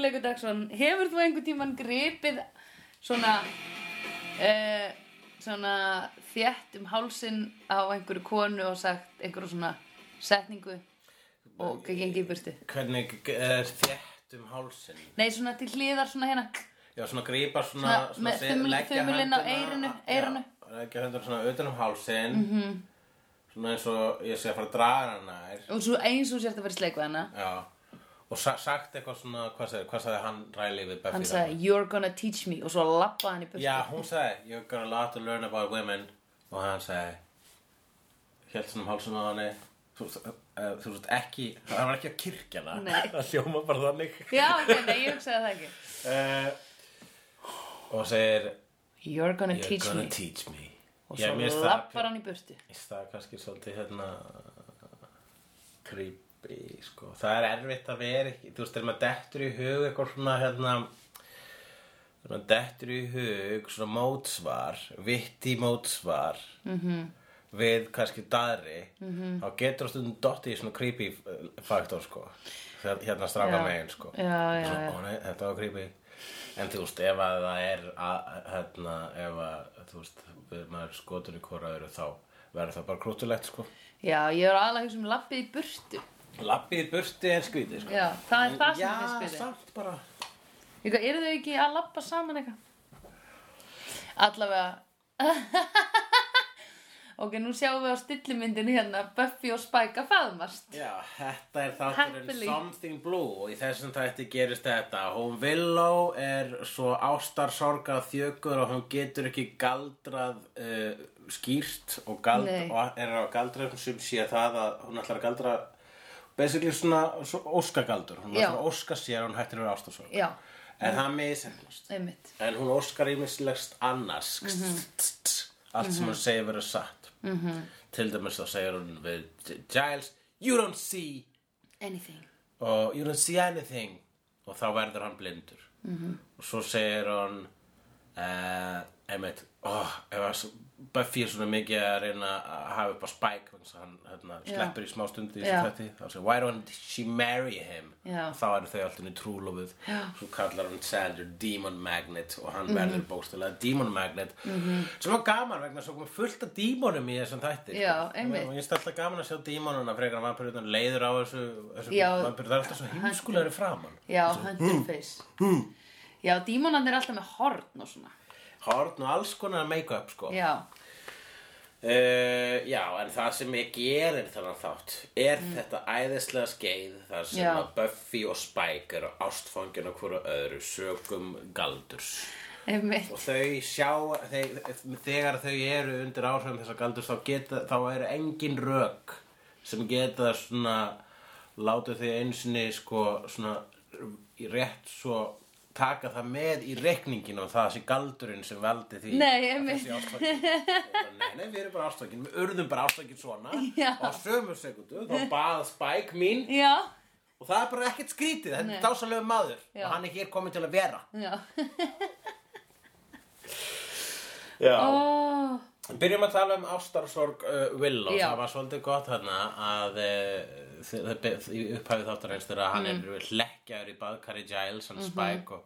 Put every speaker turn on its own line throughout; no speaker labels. Anton, hefur þú einhvern tíman gripið svona, uh, svona þétt um hálsin á einhverju konu og sagt einhverju svona setningu og gengið í burtu?
Hvernig er þétt um hálsin?
Nei, svona til hliðar svona hérna.
Já, svona grípa svona,
Svona með þumul- þumulinn á eyrinu- eyrinu. Mhm.
Já, leggja höndina svona utan um hálsin Svona eins og ég sé að fara að draga hana nær
Og svo eins og sért að vera í sleik við hana.
Já Og sa sagt eitthvað svona, hvað sagði, hvað sagði hann ræli við Buffy?
Hann
þarna?
sagði, you're gonna teach me og svo lappaði hann í burtu.
Já, hún sagði, you're gonna lot to learn about women Og hann sagði Helt svona um hálsum á hann Þú eh, þú veist ekki, hann var ekki að kirkja það
Nei.
Það hljóma bara þannig
Já, ok, nei, ég hugsaði það ekki.
uh, Og segir
You're gonna
You're
teach
gonna
me.
teach me
Og
Já, mér
svo
finnst það
lappar hann í burtu.
Mér finnst það kannski svolítið hérna creepy sko. það er erfitt að vera ekki þú veist, þegar maður dettur í hug eitthvað svona hérna þegar maður dettur í hug svona mótsvar vitti mótsvar -hmm.
Mhm.
við kannski daðri -hmm. þá getur þú stundum dotti í svona creepy eh, faktor sko. Þegar- hérna stráka
Já.
megin sko.
Já, já,
Svo,
já.
ó nei, þetta var creepy en þú veist, ef að það er að, hérna, ef að þú veist, við- maður skotur í hvora öðru þá verður það bara krútulegt, sko
Já, ég er aðlega hugsa um lappið í burtu.
Lappið í burti er skvítið, sko
Já, það er það sem
Já,
ég finnst byrðið.
samt bara
Líka, eru þau ekki að lappa saman eitthvað? Allavega. ok, nú sjáum við á stillimyndinu hérna Buffy og Spike að faðmast.
Já, þetta er þátturinn
Happily.
Something Blue og í þessum þætti gerist þetta hún Willow er svo ástarsorga þjökur og hún getur ekki galdrað uh, skýrt og, gald,
Nei.
og er á galdrað sem sé það að hún ætlar að galdra basically svona, svona óskagaldur hún
Já.
ætlar að óska sér að hún hættir að vera ástarsorga
Já,
en það miðsefnast
einmitt.
en hún óskar ímislegst annars allt sem hún segir verður satt til dæmis þá segir hún við Giles you don't see
Anything.
og you don't see anything og þá verður hann blindur
Mhm.
og svo segir hann uh, einmitt oh, ef að s- Buffy er svona mikið að reyna að hafa upp á Spike vegna þess að hann hérna,
Já.
sleppur í smástundi í
Já.
þessu þætti þá segir why don't she marry him
Já.
þá eru þau alltaf í trúlofið svo kallar hann Sander Demon Magnet og
Mhm.
hann verður bókstilega Demon Magnet sem var gaman vegna svo komið fullt af dímonum í þessum þætti
Já,
sko.
einmitt.
og ég er alltaf gaman að sjá dímonuna frekar að vampirutun leiður á þessu, þessu
Já.
vampirutun það er alltaf svo heimskulegri framan
Já, Hunterface. Já, dímonandi er alltaf með horn og svona.
horn og alls konar make-up sko
Já,
Uh, já, en það sem ég gerir þannig þátt er þetta æðislega skeið þar
Mm.
sem
Já.
að Buffy og Spike eru ástfangin og hverju öðru sögum galdurs
einmitt.
og þau sjá þeir, þegar þau eru undir áhrifum þessa galdurs þá, geta, þá eru engin rök sem geta svona láta þau einsinni sko svona í rétt svo taka það með í reikningin og það sé galdurinn sem valdi því
Nei,
að
einmitt.
þessi ástfangin nei, nei, við erum bara ástfangin, við urðum bara ástfangin svona
Já.
og á sömu sekundu þá bað Spike mín
Já,
og það er bara ekkert skrítið, þetta er dásalegu maður
Já.
og hann er hér komin til að vera
já.
Já.
Ó,
Byrjum að tala um ástarsorg uh, Willow,
Já.
það var svolítið gott þarna að uh, þi- þi- þi- í upphæfið þáttar eins þegar hann
Mm.
er hlekkjaður í baðkari Giles,
Mhm.
hann Spike og,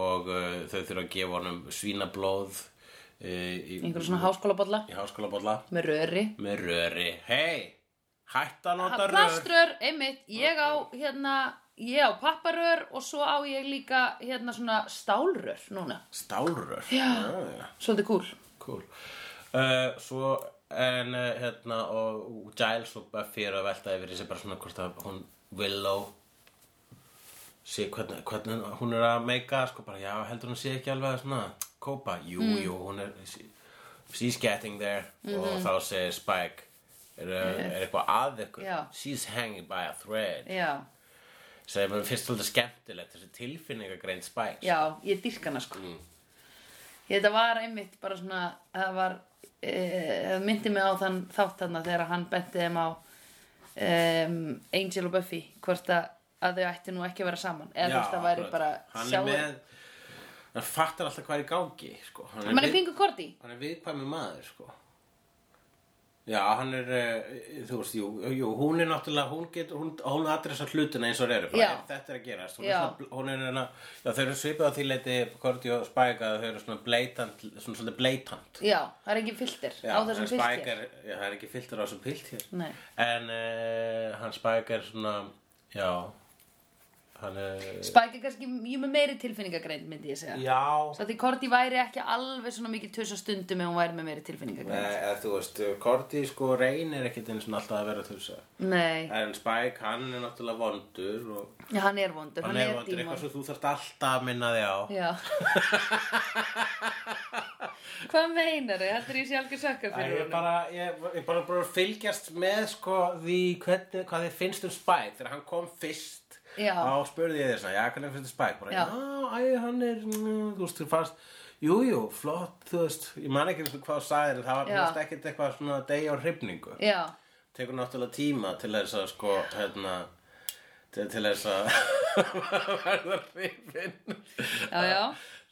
og uh, þau þurfa að gefa honum svínablóð uh, í,
einhverjum svona háskólabolla
í háskóla bolla
með röri.
með röri. Hei, hætt að nota rör.
Plaströr, einmitt, ég á hérna, ég á papparör og svo á ég líka hérna svona stálrör núna.
Stálrör. Ah.
Já.
já.
Svolítið kúl.
Cool. Uh, svo en uh, hérna og Giles og Buffy eru að velta yfir þessi bara svona hvort að hún Willow sé hvernig, hvernig hún er að meika sko bara já heldur hún sé ekki alveg að svona kópa, jú
Mm.
jú hún er she- she's getting there
Mhm.
og þá segir Spike er, eh, er eitthvað að ykkur
Já.
she's hanging by a thread
Já,
sem er fyrst svolítið skemmtilegt þessi Mm. tilfinningagreind Spike
já, ég dýrk hana sko. Þetta var einmitt bara svona, það var, eh, það myndi mig á þann þátt þarna þegar hann benti þeim á um, Angel og Buffy, hvort að, að þau ætti nú ekki að vera saman. Eða þú veist það væri
akkurat.
bara,
hann
sjáu-
er með, hann fattar alltaf hvað er í gangi sko. hann,
Hann er
við,
pingu korti.
hann er viðkvæmi maður sko. Já, hann er, eh, þú veist, jú, jú hún er náttúrulega, hún getur, hún, hún adressar hlutina eins og þeir eru, bara,
Já.
"Ef þetta er að gerast, hún
Já.
er svona, hún er hérna, já, þau eru svipið á því leiti, Korti og Spike, að þau eru svona bleitant, svona svolítið bleitant.
Já, það er ekki filter
Já,
á þessum
en Spike
filter
er, já, það er ekki filter á þessum pilt hér.
Nei.
En uh, hann Spike er svona, já, hann er,
Spike er kannski mjög með meiri tilfinningagreind myndi ég segja
já,
Svo því Korti væri ekki alveg svona mikið tusa stundum ef hún væri með meiri tilfinningagreind
Nei, eða þú veist, Korti sko reynir ekkert eins og alltaf að vera þursa.
Nei,
En Spike, hann er náttúrulega vondur og
Já, hann er vondur,
hann er vondur,
dímon
eitthvað svo þú þarft alltaf að minna þig á.
Já Hvað meinar þau? Heldur ég sé algjör sökka
Æ,
fyrir
Ég er
honum?
bara, ég, ég er bara, bara að fylgjast með sko því hvernig, hvað þið finnst um Spike þegar hann kom fyrst
Já.
þá spurði ég þér svona, já hvernig finnst þér Spike bara,
Já.
já, æ, hann er, mm, þú veist, þú fannst jú, jú, flott, þú veist ég man ekki hvað þú sagðir, en það var
Já.
þú veist, ekkert eitthvað svona degi á hrifningu
Já,
tekur náttúrulega tíma til þess að sko, hérna til, til þess að verða hrifin
já, já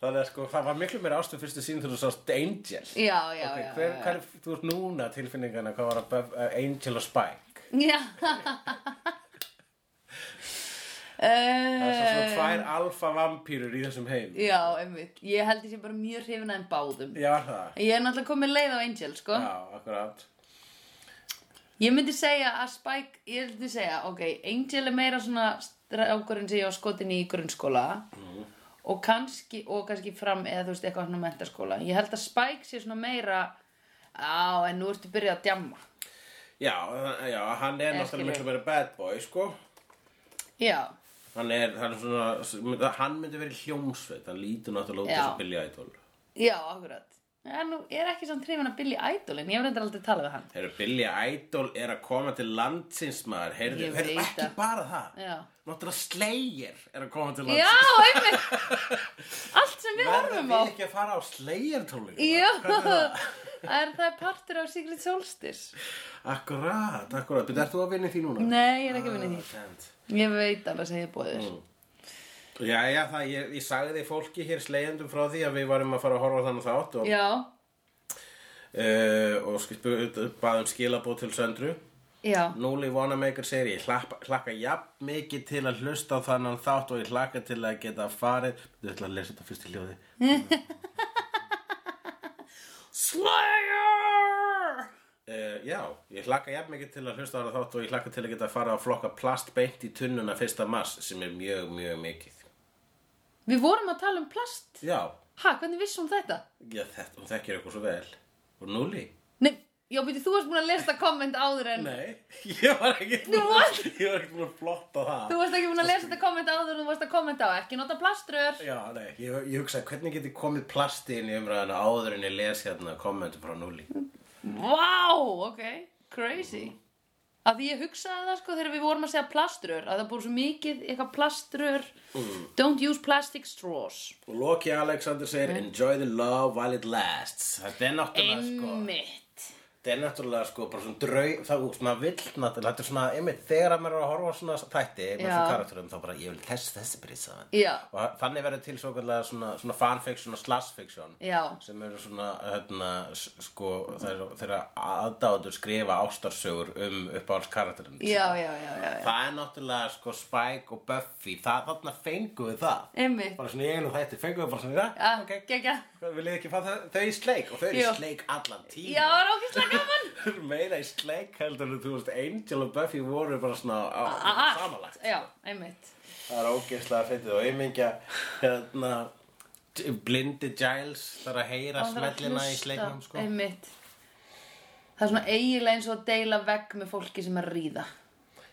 þannig að sko, það var miklu meira ástu fyrstu sín þegar þú sást Angel
Já, já,
Ok,
já,
hver,
já, já.
hver, þú ert núna tilfinningana hvað var að Bub- uh, Angel og Spike
Já
það er svo svona
Eh,
tvær alfa vampýrur í þessum heim
Já, einmitt Ég held ég sé bara mjög hrifin en báðum
já það,
Ég er náttúrulega komin leið á Angel, sko
já, akkurat
Ég myndi segja að Spike Ég myndi segja, ok, Angel er meira svona strákurinn sem ég á skotin í í grunnskóla Mhm. og kannski, og kannski fram eða þú veist eitthvað svona mentaskóla Ég held að Spike sé svona meira Á, en nú ertu byrjað að djamma
já, uh, já, hann er
Ég skil
náttúrulega
þig.
miklu meira bad boy sko
Já,
hann er, hann er svona hann myndi verið hljómsveit hann lítur náttúrulega út
Já.
þessu Billy Idol
já, akkurat En nú er ekki samt hrifin að Billy Idol en ég hef reyndar aldrei talað við hann
Heyrðu, Billy Idol er að koma til landsins maður, heyrðu,
Ég
heyrðu
veit
ekki
það.
bara það
Já,
náttúrulega Slayer er að koma til landsins
já einmitt Allt sem við horfum á
Verða við ekki að fara á Slayer tónleika?
Jú, það er, það er partur á Secret Solstice
Akkurát, akkurát. Býttu, ert þú að vinna í því núna?
Nei, ég er ekki að vinna í
Send.
því Ég veit alveg sem ég búið þér
Mm. Já, já, það, ég, ég sagði því fólki hér slegjendum frá því að við varum að fara að horfa á þannig þátt og,
Já,
uh, og skipu- baðum skilabóð til söndru.
já,
Núli Wanamaker segir ég hlakka, hlakka jafn mikið til að hlusta á þannan þátt og ég hlakka til að geta farið. Þú ætla að lesa þetta fyrst í hljóði.
Slayer
Uh, já, ég hlakka jafn mikið til að hlusta á þannan þátt og ég hlakka til að geta farið að flokka plast beint í tunnuna fyrsta mars sem er mjög, mjög mikið.
Við vorum að tala um plast
Já,
Ha, hvernig vissum þetta?
já þetta, hún þekkir eitthvað svo vel. Og Núli?
Nei, já, byrju, þú varst búin að lesa komment áður en
Nei, ég var ekkert búin að, ég var ekkert búin að flotta það.
Þú varst ekki búin að lesa þetta komment áður en þú varst að kommenta á ekki nota plaströr
Já, nei, ég, ég hugsaði hvernig geti komið plasti inn í umræðuna áður en ég les hérna kommentu frá Núli.
Vá, ok, crazy Af því ég hugsaði það sko þegar við vorum að segja plaströr að það búið svo mikið eitthvað plaströr
Mm.
Don't use plastic straws
Og Loki Alexander segir,
Mm.
enjoy the love while it lasts. Þetta er náttúrulega sko...
Einmitt
Þetta er náttúrulega sko bara svona draug, það er svona vill náttúrulega, þetta er svona, einmitt, þegar að maður er að horfa á svona þætti með
Já.
svona karakterum þá bara ég vil þess, þessi brisa
Já.
Og þannig verður til svona, svona, svona fanfiction og slashfiction
Já.
sem eru svona, hérna, s- sko, þeirra aðdáður skrifa ástarsögur um uppáhalds karakterum.
Já, já, já, já, já.
Það er náttúrulega sko Spike og Buffy, það þarna fengum við það.
Einmitt
Bara svona í einu þætti, fengum við bara svona í það.
ah, okay. Gekja
Viljið ekki fá þau, þau í sleik og þau eru
Jú.
í sleik allan tíma.
Já, það er ókvæmstlega gaman
Þau eru meira í sleik heldur en þú veist Angel og Buffy voru bara svona á,
Allt.
samanlagt
Já, einmitt
það er ógeðslega fyndið og einmengja hérna blindi Giles þarf að heyra
Það var að
smellina í
hlusta,
sleiknum sko
Einmitt Það er svona eiginlega eins og að deila vegg með fólki sem er að ríða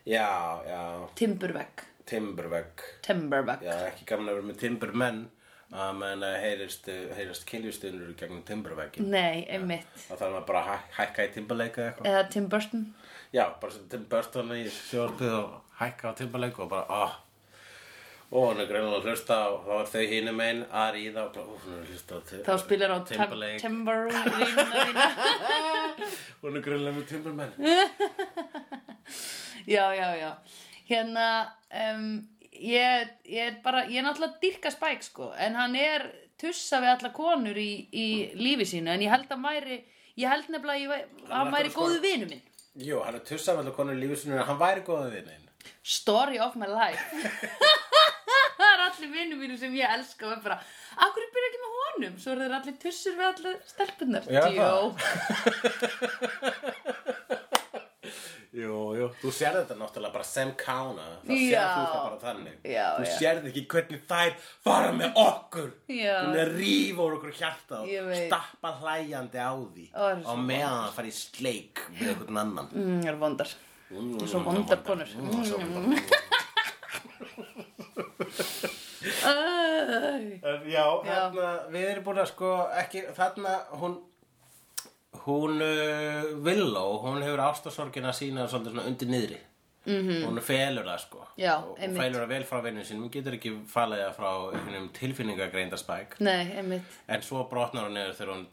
já, já,
Timbervegg
Timbervegg
Timbervegg
já, ekki gaman að vera með Timbermenn að menn að heyrist, eh, heyrist kynljustunur gegnum Timberveggin
Nei, einmitt
þá þarf maður bara að hæ- hækka í Timberleika eitthvað
Eða Tim Burton
Já, bara sem Tim Burton í sjórpið og hækka á timbalengu og bara, ah Og hún er greinlega að hlusta og þá er þau hinum einn að ríða og bara, ó, hún er að hlusta á Tim-
Þá spilar á
Timberlake.
Timberlake
Ah, Hún er greinlega með Timberman
Já, já, já Hérna um, ég, ég er bara, ég er náttúrulega dyrka Spike sko En hann er tussa við alla konur í, í lífi sínu en ég held að hann væri ég held nefnilega að ég væ- að hann væri
náttúrulega
góðu vinu minn
Jú, hann er tussað með konur í lífi sinu en hann væri góða vinninn.
Story of my life Það er allir vinnum mínu sem ég elska og er bara, akkur er byrja ekki með honum svo eru þeir allir tussur við allir stelpunar
Já, það.
Jó.
Jú, jú. Þú sér þetta náttúrulega bara sem kána. Það sér
Já.
þú það bara þannig.
Já,
þú
já.
sérð ekki hvernig þær fara með okkur.
Já.
Hún er rífa úr okkur hjarta
Ég
og
veit.
stappa hlæjandi á því.
Ó, það er
á
svo
meðan það fara í sleik með einhvern annan.
Mm, það er vondar
Mm,
Svo vondar konur
Mm, svo vondar.
Æ.
En Já, þarna, við erum búin að sko ekki, þarna hún hún uh, Villó, hún hefur ástasorgina sína svolítið svona undir niðri mm -hmm. hún felur það sko
Mhm. Já,
og, og
einmitt.
felur það vel frá vinnum sínum, hún getur ekki falið það frá einhvernum tilfinningagreindarspæk
Nei, einmitt
en svo brotnar hún niður þegar hún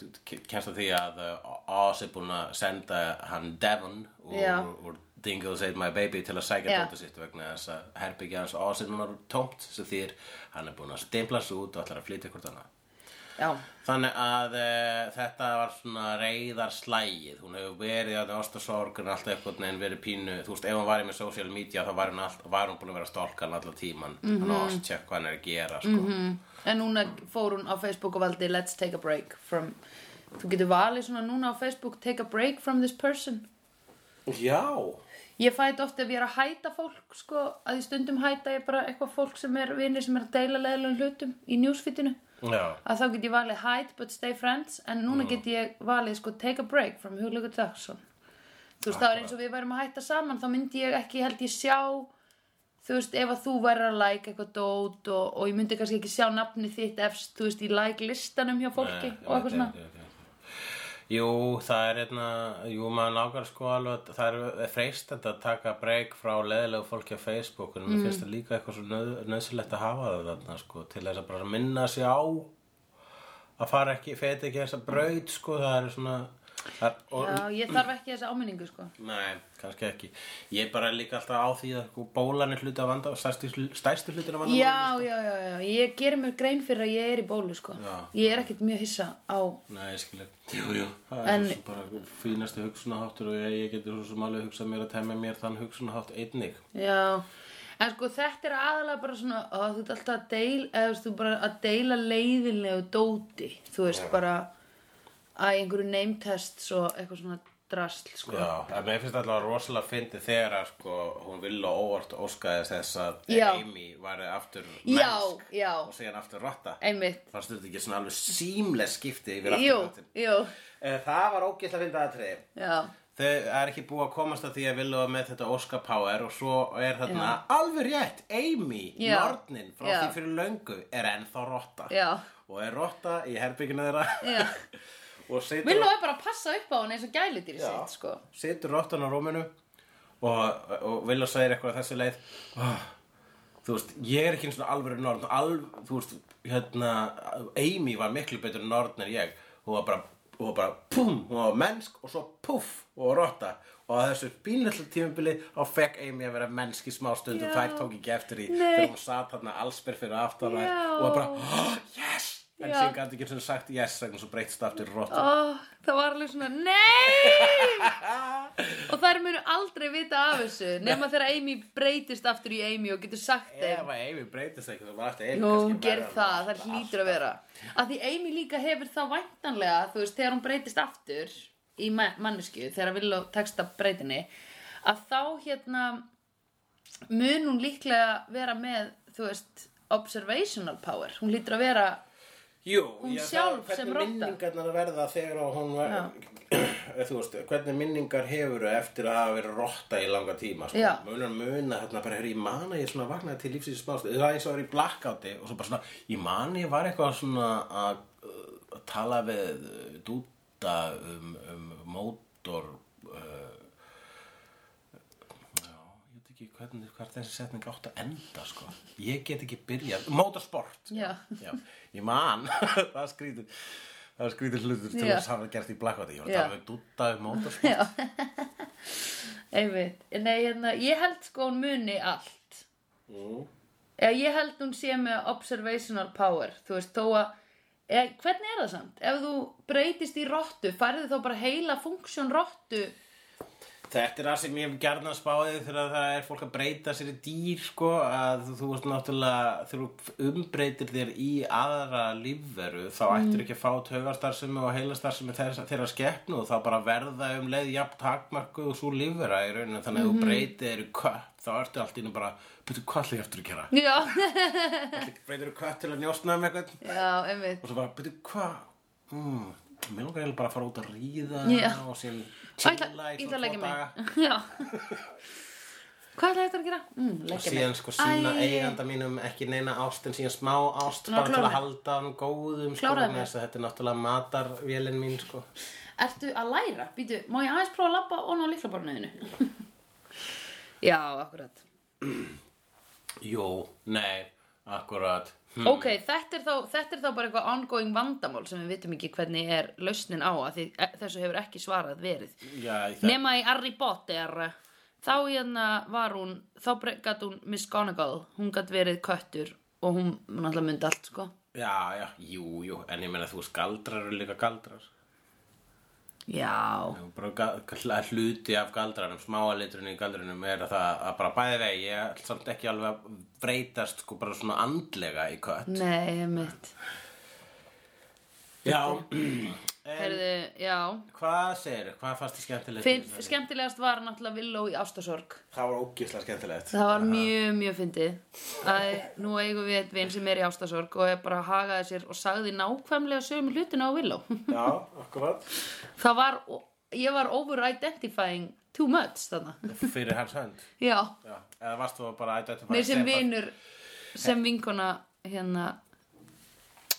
kemst að því að uh, Oz er búin að senda hann Devon
Já.
úr, úr Dingle Save My Baby til að sækja
Já.
dóttu sitt vegna þess að herbyggja hans Oz er núna tómt sem þýr hann er búin að stimpla sig út og ætlar að flytja hvort annað
Já,
Þannig að e, þetta var svona reyðarslægið, hún hefur verið að ástasorg en alltaf einhvern veginn verið pínu, þú veist, ef hún var í með social media þá var hún, all, var hún búin að vera að stalka hann allan tíman, mm -hmm. hann
Mhm.
ást tjekk hvað hann er að gera, sko.
mm. en núna fór hún á Facebook og valdi Let's take a break from Þú getur valið svona núna á Facebook Take a break from this person Mhm.
Já,
Ég fæt oft ef ég er að hæta fólk sko, að í stundum hæta ég bara eitthvað fólk sem er vinir sem er að deila leðilegum hlutum í newsfeedinu
já,
að þá get ég valið hide but stay friends en núna get ég valið sko take a break from Hugleikur Dagsson þú veist það er eins og við værum að hætta saman þá myndi ég ekki held ég sjá þú veist ef að þú væri að like eitthvað dót og, og ég myndi kannski ekki sjá nafni þitt efst þú veist í like listanum hjá fólki
Nei,
og eitthvað
ég veit,
svona
ég veit, ég veit. Jú, það er einna, jú, maður nákvæmlega sko alveg, það er freistandi að taka breyk frá leðilegu fólki á Facebook,
Mm.
en mér finnst það líka eitthvað svo nöð, nöðsilegt að hafa það þarna, sko, til þess að bara minna sig á að fara ekki, feti ekki þessa braut, sko, það er svona, það er, og,
Já, ég þarf ekki þessa áminningu sko
Nei, kannski ekki. Ég er bara líka alltaf á því að sko, bólan er hluti af vanda, stærsti, stærsti hluti af vanda.
Já, já, já, já, ég gerir mér grein fyrir að ég er í bólu sko
Já.
Ég er ekkert mjög hissa á
Nei, ég skilja. Jú, jú. Það
En-
er svo bara fínasti hugsunaháttur og ég, ég getur svo sem alveg hugsað mér að temja mér þann hugsunahátt einnig.
Já, en sko þetta er aðalega bara svona, ó, þú ert alltaf að deila, eða þú veist, þú bara að deila leiðinlegu dóti, þú veist, bara að einhverju name test svo eitthvað svona drasl, sko.
Já, en mér finnst alltaf rosalega fyndi þegar að sko, hún vill og óvart óskaðist þess að
Já.
Amy var aftur
já,
mennsk
já,
og síðan aftur rotta.
einmitt,
Fannst þetta ekki svona alveg símles skipti yfir aftur
jú,
rottin?
jú,
Eh, Það var ógislega fyndið aðtriði.
já,
Þau er ekki búið að komast að því að vilja með þetta Oscar Power og svo er þarna alveg rétt, Amy,
Já.
nornin frá
Já.
því fyrir löngu er ennþá rotta
já,
og er rotta í herbygginu þeirra
já.
og situr,
Vil nú er bara að passa upp á hann eins og gæludýri
Já.
sitt, sko.
situr rottan á rúminu og, og vilja segir eitthvað á þessu leið oh, þú veist, ég er ekki eins og alveg norn alv, þú veist, hérna Amy var miklu betur norn en ég hún var bara, hún var bara pum, hún var mennsk og svo puff og rotta og á þessu bínlöldlu tímubili þá fekk Amy að vera mennsk í smá stund
Já.
og þær tók ekki eftir í
Nei.
þegar hún satt þarna allsbyr fyrir aftan þær
Já.
og var bara, oh, yes en
Já.
síðan gæti ekki eins og sagt yes vegna svo breytst það aftur í rotta
Ó, það var alveg svona, nei! og þær munu aldrei vita af þessu, nema þegar Amy breytist aftur í Amy og getur sagt þeim.
Ef að Amy breytist eitthvað, þá var alltaf Amy
Jú, hún gerir
verra en
það,
alltaf.
það hlýtur að vera að því Amy líka hefur það væntanlega þú veist, þegar hún breytist aftur í mannesku, þegar að vilja texta breytinni að þá hérna mun hún líklega vera með, þú veist observational power, hún hlýtur að vera
Jú,
Hún
ég- það-
sjálf sem rotta.
Hvernig minningarnar verða þegar að hún var, þú veist, hvernig minningar hefur eftir að hafa verið rotta í langa tíma, sko.
Já.
Munar muna, þarna bara, hefur ég man að ég svona vaknaði til lífsins smást. Það er eins og að vera í blackouti og svo bara svona, ég man ég var eitthvað svona að, að tala við uh, dúta um, um mótor, uh, Já, ég veit ekki hvernig, hvað þessi setning átt að enda, sko. Ég get ekki byrjað. Motorsport.
Já.
Já. Ég man, það skrýtur, það skrýtur hlutur til
Já.
þess að hafa gert í blakkvæti. Ég var
Já.
að tala við dutta um motorsport.
einmitt, nei hérna ég held sko hún muni allt
Mm.
eða ég held hún sé með observational power þú veist, þó að Eh, hvernig er það samt? Ef þú breytist í rottu, færðu þá bara heila funksjón rottu?
Þetta er það sem ég hef gert að spáði þegar það er fólk að breyta sér í dýr sko að þú- þú veist náttúrulega þegar þú umbreytir þér í aðra lífveru þá
Mm.
ættir ekki að fá taugarstarfsemi og heilastarfsemi þeirra, þeirra skeppnu og þá bara verða um leið jafn takmarku og svo lífvera í rauninu þannig
Mhm.
að þú breytir þér í kött þá ertu allt í einu bara, betur hvað ætla ég eftir að gera?
Já,
Breytir þú kött til að njósna um eitthvað?
já, einmitt.
og svo bara, betur hvað mm, mér langar eiginlega bara að fara út að ríða
Já.
og síðan
Ætla,
chilla í
ég ætla
svona
að leggja
tvo daga
mig. Já. Hvað ætla þetta að gera? Mm,
og
leggja mig.
síðan sko sína
Æ.
eiganda mínum ekki neina ást en síðan smá ást
Ná,
bara til
kláraðu.
að halda hann góðum sko,
Kláraðu
vegna
mig.
þess að þetta er náttúrulega matarvélin mín sko.
Ertu að læra? Býtu, má ég aðeins prófa að labba og ná líklabornaðinu? já, akkurat.
Jó, nei, akkurat hm.
Ok, þetta er, þá, þetta er þá bara eitthvað ongoing vandamál sem við vitum ekki hvernig er lausnin á að því e, þessu hefur ekki svarað verið.
Já, í það,
Nema í Harry Potter Þá hérna var hún Þá bre- gat hún Miss Gonagall Hún gat verið köttur Og hún náttúrulega myndi allt sko
já, já, jú, jú en ég meina þú skaldrar eru líka galdrar
Já
Já, bara ga- gla- hluti af galdranum smáalitrunni í galdranum er að það að bara bæði vegi, ég ætl samt ekki alveg að breytast sko bara svona andlega í kött
Nei, mitt
já,
Herðu, já
hvað segir, hvað fannst þið skemmtilegt í
Finn,
þessari?
Skemmtilegast var náttúrulega Villó í ástasorg
það var ógislega skemmtilegt
Það var mjög, mjög fyndið að nú eigum við eitt vin sem er í ástasorg og er bara að hagaði sér og sagði nákvæmlega sömu hlutina á Villó
já, akkurat
Það var, ég var over-identifying too much þarna
fyrir hans hönd
Já
já. eða varst þú bara að þetta
Nei, sem vinur, sem vinkona hérna,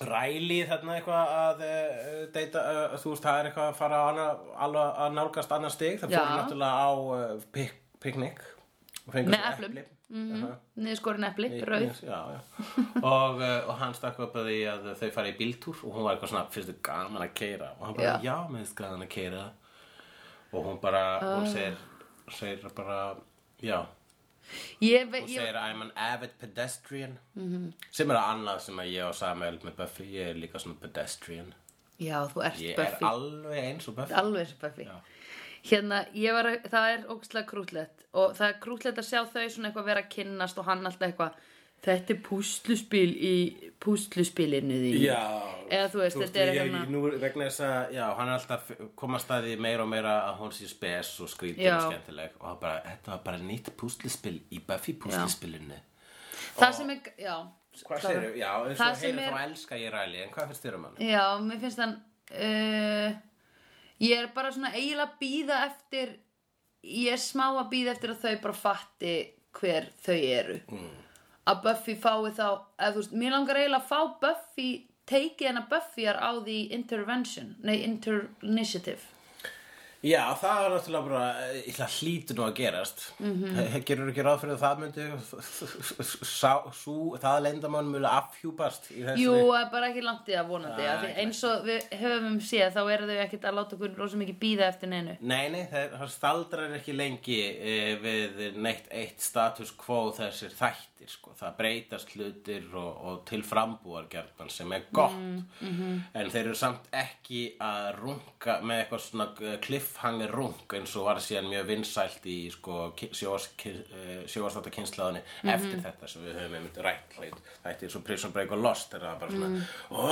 ræli þarna eitthvað að uh, deyta, uh, þú veist það er eitthvað að fara á anna, alveg að nálgast annar stig það
Já.
fórum náttúrulega á uh, pik, piknik og fengum
Með
svo
eplum.
epli. Mhm.
niðurskorin epli,
Nei,
rauð.
yes, já, já. og, uh, og hann stakk upp að því að þau fara í bíltúr og hún var eitthvað svona, finnst þau gaman að keira og hann bara,
Já.
já, mér finnst gaman að keira og hún bara,
Ah.
hún segir segir bara, já
Ég, ve
hún
ég, Mhm.
segir I'm an avid pedestrian sem er annað sem að ég og Samuel með Buffy, ég er líka svona pedestrian
já, þú ert
ég
Buffy.
er alveg eins og Buffy
alveg eins og Buffy.
Já.
Hérna, ég var, að- það er ógstlega krútlegt og það er krútlegt að sjá þau svona eitthvað vera að kynnast og hann alltaf eitthvað, þetta er púsluspil í púsluspilinu þín.
Já,
Eða þú veist, þetta er hérna-
ég-
eitthvað
ég- Nú vegna þess að, já, hann er alltaf komast að því meira og meira að hún sé spes og skrítið
Já.
og skemmtileg og hann bara, þetta var bara nýtt púslispil í Buffy púslispilinu
Það sem er, já.
Hvað
klára.
segirðu? Já, eins
Það
og
sem
heyrið
er-
þá elska ég ræli en hvað finnst þér um hann?
Já, mér finnst hann uh, Ég er bara svona eiginlega að býða eftir Ég er smá að býða eftir að þau bara fatti hver þau eru mm. Að Buffy fái þá eða, þú veist, Mér langar eiginlega að fá Buffy Teikið hennar Buffyar á því intervention Nei, interinitiative
Já, það er náttúrulega bara, ég ætla að hlýtu nú að gerast mm
Mhm.
-hmm. Gerur ekki ráð fyrir að það myndi sá, sú, það leyndamann mjög afhjúpast í þessu
Jú, það er bara ekki langt í það vonandi
Nei,
af því eins og við höfum séð þá eru þau ekkert að láta okkur rosa mikið býða eftir neinu
Nei, nei, það, það staldrar ekki lengi e, við neitt eitt status quo þessir þættir, sko. Það breytast hlutir og, og til frambúargjarnan sem er gott.
Mhm.
En þeir eru samt ekki að runga með eitthvað svona eh, cliffhanger rung eins og var síðan mjög vinsælt í sko, sjóastáta kynslaðunni eh,
Mhm.
eftir þetta sem við höfum einmitt rætt hlut. Þetta er svo Prison Break og Lost þegar það var bara svona, mm. ó,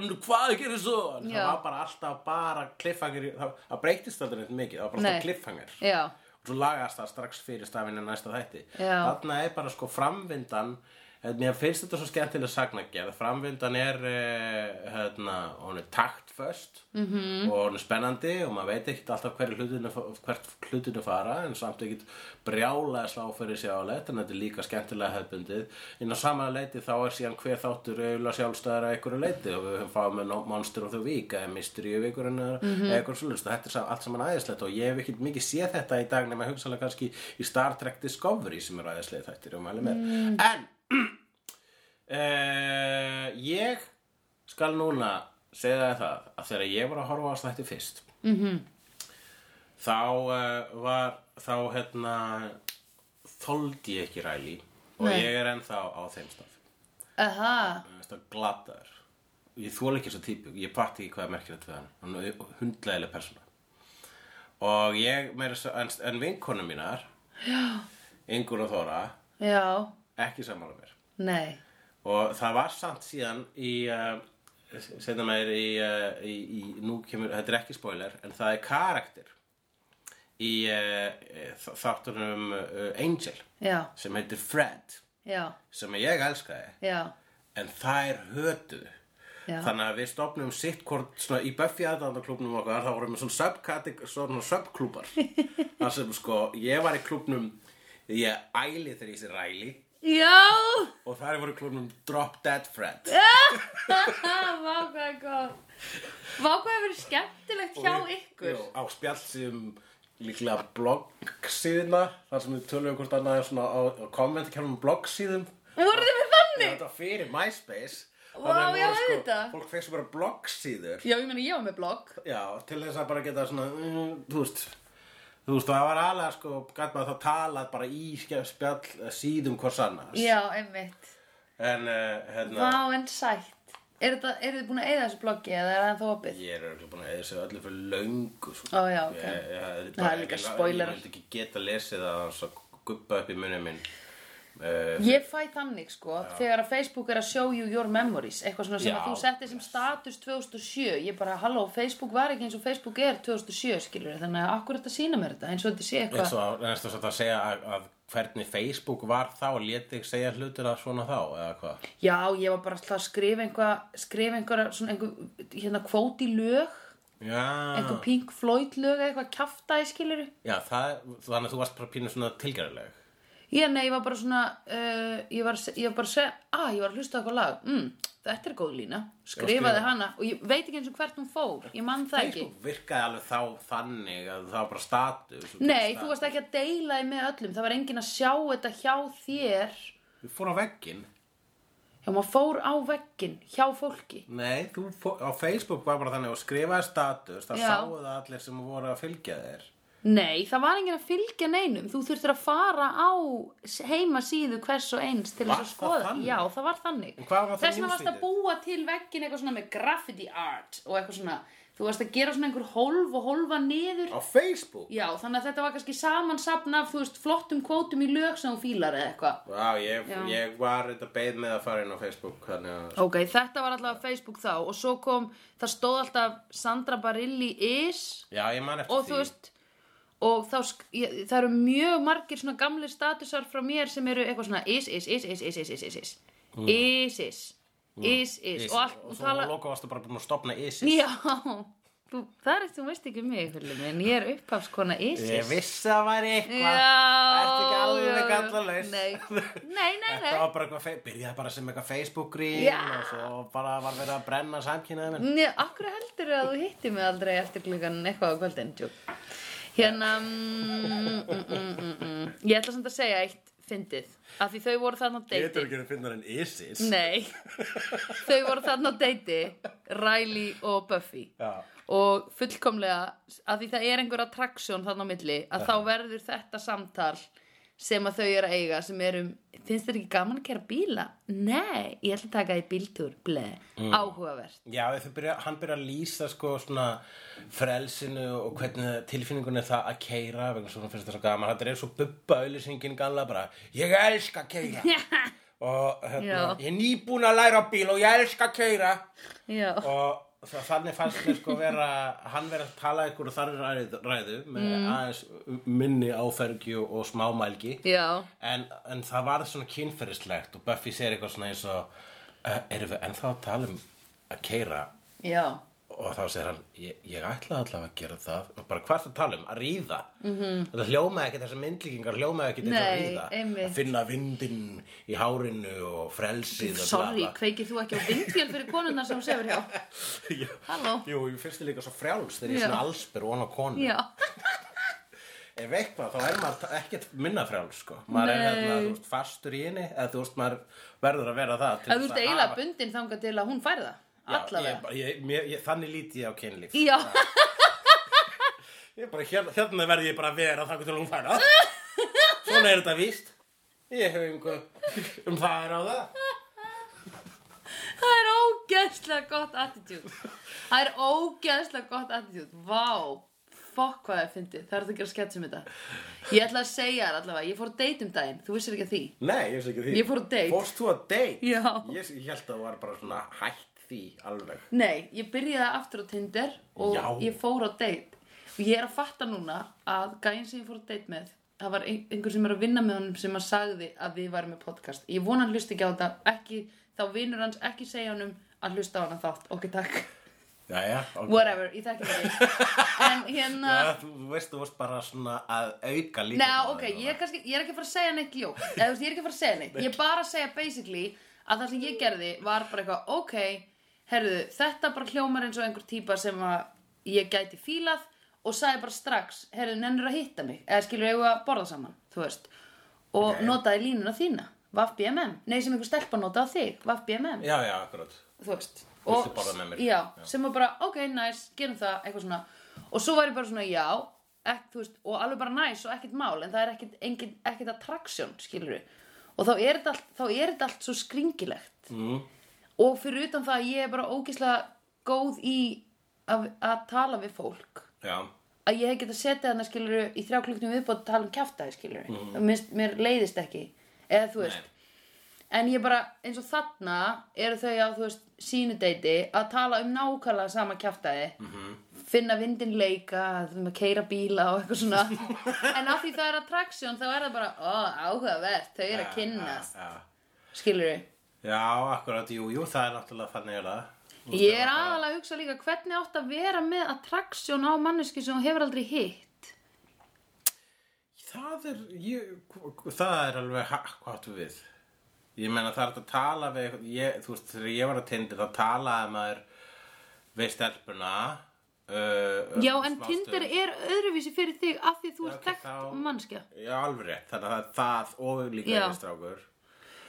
nú hvað gerir svo? En
Mhm. Já.
Það var bara alltaf bara cliffhanger í- það, það breytist aldrei neitt mikið, það var bara
Nei.
alltaf cliffhanger
Já,
og svo lagast það strax fyrir stafinu næsta þætti
Já.
þarna er bara sko framvindan eh, mér finnst þetta svo skemmtileg sagnagerð framvindan er eh, hérna, hún er taktföst -hmm. og hún er spennandi og maður veit ekkert alltaf hverju hlutinu, hvert hlutinu fara en samt ekkert brjálega sláfæri sjáleitt en þetta er líka skemmtilega hefbundið en á sama leiti þá er síðan hver þáttur auðvitað sjálfstæðar að einhverju leiti og við fáum með no- Monster of the Week eða Mystery of Week eða eitthvað svolítið þetta er sa- allt saman aðeinslegt og ég hef ekkert mikið séð þetta í dag nema hugsalega kannski í Star Trek Discovery sem er aðeinslega þættir og mæli með en uh, ég skal núna segja þér það að þegar ég var að horfa á þætti fyrst -hmm. þá uh, var þá hérna þoldi ég ekki ræli og
Nei.
ég er ennþá á þeim stað
aha,
Mér finnst það glataður ég þóla ekki þessu típu, ég patti ekki hvað er merkilegt við hann hann er hundlegileg persóna og ég meira svo, en, en vinkonu mínar Ingur og Þóra
Já,
ekki sammála mér
nei
og það var samt síðan í uh, setna meir í, uh, í, í nú kemur, þetta er ekki spoiler en það er karakter í uh, þáttunum uh, Angel
Já,
sem heitir Fred
já,
sem ég elskaði
já,
en þær hötuðu
já
Þannig að við stopnum sitt hvort svona í Buffy aðdandaklubnum okkar þá vorum við svona subkategor, svona subklúpar þar sem sko, ég var í klubnum ég æli þegar ég sé ræli
Já,
og þær voru í klubnum Drop Dead Fred
vá hvað er gott Vá hvað er verið skemmtilegt hjá
Og við-
ykkur
Jú, á spjallsíðum líklega bloggsíðina þar sem við tölum hvort annað svona á, á kommentarkerfum bloggsíðum
Voruð þið með þannig?
þetta var fyrir MySpace
Vá,
Þannig að
já,
voru, sko,
auðvitað.
Fólk fekk svo bara bloggsíður
Já, ég meni ég var með blogg
Já, til þess að bara geta svona, mm, þú veist, þú veist, það var alveg, sko, gæt maður þá talað bara í skef- spjall eh, síðum hvors annars.
Já, einmitt
En, uh, hérna,
Vá, en sætt Er þetta, eru þið búin að eyða þessu bloggi eða er það ennþá opið?
ég er örugglega búin að eða þessu öllu fyrir löngu, sko.
Ó, já, ok.
Ég, ég, ég,
Það er líka spoiler.
Ég vildi ekki geta lesið það hans að guppa upp í munum minn. Uh,
Ég fæ þannig sko, þegar að Facebook er að show you your memories, eitthvað svona sem
Já.
að þú settir sem status 2007, ég bara, halló, Facebook var ekki eins og Facebook er 2007, skilur þannig að akkur þetta sína mér þetta, eins og þetta sé eitthvað.
eins og næstu svo að segja að, að hvernig Facebook var þá, leti ekki segja hlutina svona þá, eða hvað?
Já, ég var bara alltaf að skrifa einhvað, skrifa einhver, svona einhver, hérna, kvót í lög,
Já.
einhver Pink Floyd lög eða eitthvað kjaftaði, skilur
Já, það, þannig að þú varst bara pínu svona tilgjörleg.
Ég, nei, ég var bara svona, uh, ég, var, ég var bara að segja, að, ég var að hlusta á eitthvað lag, mm, þetta er góð lína,
skrifa.
skrifaði hana og ég veit ekki eins og hvert hún fór, ég man það ekki.
Facebook sko, virkaði alveg þá þannig að það var bara status og
Nei, þú
status.
varst ekki að deila þið með öllum Það var enginn að sjá þetta hjá þér
Þú fór á veggin
Já, maður fór á veggin hjá fólki
Nei, þú fór, á Facebook var bara þannig að skrifaði status Það
Já.
sáu það allir sem voru að fylgja þér
Nei, það var enginn að fylgja neinum Þú þurftir að fara á heimasíðu hvers og eins til
Var
þess að
það
skoða
þannig?
Já, það var þannig
En hvað var það
Þess vegna varst að
newsfeedið?
búa til veggin eitthvað svona með graffiti art og eitthvað svona Þú varst að gera svona einhver hólf og hólfa niður
Á Facebook?
Já, þannig að þetta var kannski samansapn af, þú veist, flottum kvótum í lög sem þú fílar eða eitthvað
Vá, ég,
Já.
ég var þetta beið með að fara inn á Facebook Þannig að
Ok, þetta var allavega Facebook þá og svo kom, það stóð alltaf Sandra Barilli is
Já, ég man eftir
og þú
því
veist og þá, sk- ég, það eru mjög margir svona gamlir statusar frá mér sem eru eitthvað svona is, is, is, is, is, is, is, is, is is, is, is, is og allt,
og
og
svo tala...
tala
loka varstu bara búin að stopna ISIS
Já, þú, það er þú veist ekki um mig, hullu minn, ég er upphafskona is,
Ég
is
vissi að það væri
Já,
eitthvað Ertu ekki alveg
já, já.
gallalaus?
Nei, nei, nei, nei.
Þetta var bara eitthvað, fe- byrjaði bara sem eitthvað Facebook-grín
Já.
og svo bara var verið að brenna samkynnaði minn.
Nei, akkur heldur að þú hittir mig aldrei eftir klukkan eitthvað á kvöldin, tjúk. Hérna, mm, mm, mm, mm, mm. ég ætla samt að segja eitt fyndið, af því þau voru þarna á deiti.
ekki að finna hann ISIS.
Nei, þau voru þarna á deiti, Riley og Buffy.
Já.
Og fullkomlega, af því það er einhver attraction þarna á milli, að þá verður þetta samtal sem að þau eru að eiga, sem er um, finnst þér ekki gaman að kæra bíla? Nei, ég ætla að taka því bíltúr, bleð,
Mm.
áhugavert.
Já, þau byrja, hann byrja að lýsa sko svona frelsinu og hvernig tilfinningun er það að keira vegna svona finnst það svo gaman, þetta er svo bubba auðlýsingin galla bara, ég elska að keira og hérna,
Já.
ég er nýbúin að læra á bíl og ég elska að keira
Já.
og það, þannig fannst mér sko vera hann vera að tala ykkur þannig ræðu, ræðu með
Mm.
aðeins minni áfergju og smámælgi
Já.
en, en það varð svona kynferðislegt og Buffy segir eitthvað svona eins og uh, erum við ennþá að tala um að keira
Já,
og þá segir hann ég, ég ætla allavega að gera það og bara hvað er það að tala um, að ríða mm -hmm. það hljómaði ekki þessar myndlíkingar hljómaði ekki þessar
Mhm. Nei,
ríða
einmitt.
að finna vindinn í hárinu og frelsið og
sorry,
bla, bla.
kveikir þú ekki á vindfél fyrir konunnar sem þú sefur hjá?
Já.
Halló?
jú, ég finnst þið líka svo frjáls þegar ég
Já.
er svona allsbyr og hann á konu
Já,
ef eitthvað þá er maður ekkert minna frjáls sko. maður er
Nei.
hérna, þú veist, fastur í henni eða þú veist, maður verður að vera það til
ef þú
þess
ert
að
eiginlega
hafa-
bundin þangað til að hún færða,
Já,
allavega.
ég, ég, mér, ég, þannig líti ég á kynlíf
Já,
Ég bara, hérna, hérna verði ég bara að vera þakku til hún færa. Svona er þetta víst. Ég hef einhver um það er á það.
það er ógæð. ógeðslega gott attitude það er ógeðslega gott attitude vá, fokk hvað ég fyndi það er það að gera skets um þetta ég ætla að segja þér allavega, ég fór á date um daginn þú vissir ekki að því
Nei, ég veist ekki því
Ég fór á date.
Fórst þú að date?
Já.
Ég, ég held að það var bara svona hætt því alveg
Nei, ég byrjaði aftur á Tinder og
Já.
ég fór á date og ég er að fatta núna að gæinn sem ég fór á date með það var ein- einhver sem er að vinna með honum sem að sagði að við varum með podcast ég vona hann hlusta ekki á þetta ekki, þá vinur hans ekki segja honum að hlusta á hann þátt ok takk,
Jæja, ok
whatever, ég þekki það en hérna
Já, þú, þú veist, þú varst bara svona að auka líka
Nei, ok, ég er, kannski, ég er ekki að fara að segja neitt ljók Eða, þú veist, Ég er ekki að fara að segja neitt Ég er bara að segja basically að það sem ég gerði var bara eitthvað Ok, herðu, þetta bara hljómar eins og einhver típa sem að ég gæti fílað Og sagði bara strax, herðu, nennir að hitta mig Eða skilur eigum við að borða saman, þú veist Og
Ok.
notaði línuna þína, Vaff BMM Nei, sem einhver stelpa notaði á þig, Vaff BMM
Já, já, akkurat
þú veist
Viltu borða með mér?
já, sem var bara, ok, nice, gerum það eitthvað svona, og svo var ég bara svona, já ek, þú veist, og alveg bara nice og ekkert mál en það er ekkert, engin, ekkert attraction skilur við, og þá er þetta allt, þá er þetta allt svo skringilegt
mm.
og fyrir utan það að ég er bara ógislega góð í að, að tala við fólk
Já,
að ég hef getað setið hann skilur við, í þrjá klukknum viðbót að tala um kjaftaði skilur við, mm. mér, mér leiðist ekki eða þú veist,
Mhm. nei
En ég bara, eins og þarna eru þau á, þú veist, sínudeiti að tala um nákvæmlega sama kjaftaði
Mhm.
finna vindin leika þú veist, að keira bíla og eitthvað svona en af því það er attraction þá er það bara, ó, áhugavert, þau eru að kynnast
Já, já,
skilur við
já. já akkurat, jú, jú, það er náttúrulega þannig er það Þú veist,
Ég er
það var
aðalega að hugsa líka hvernig átt að vera með attraction á manneski sem þú hefur aldrei hitt
bara- Það er, ég, það er alveg, ha, hvað áttu við? Ég meina það er hægt að tala við, einhvern- ég, þú veist, þegar ég var að tindir þá talaði maður við stelpuna uh,
Já, en
smástund.
Tinder er öðruvísi fyrir þig af því þú
Já,
ert
ok,
þekkt
þá-
mannskja
Já, alveg rétt, þannig að það er það og líka
Já.
ég strákur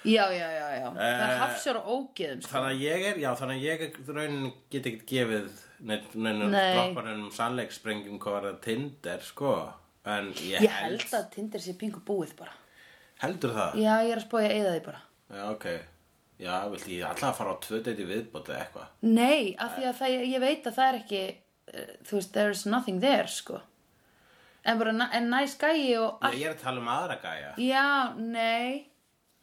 Já, já, já, já, það er hafsjóra ógeðum sko.
Þannig að ég er, já, þannig að ég er raunin get ekki gefið um neinum
Nei.
dropparunum sannleikssprengjum hvað var það Tinder, sko En ég,
Ég held að Tinder sé pingu búið bara
Heldur það?
Já, ég er að spója eða því bara
Já, ok Já, viltu ég alltaf að fara á tvö deyti viðbót eða eitthvað
Nei, af því að það, ég veit að það er ekki eh, Þú veist, there is nothing there, sko En bara, na- en næs gæi og
Nei, Ég er að tala um aðra gæja
Já, nei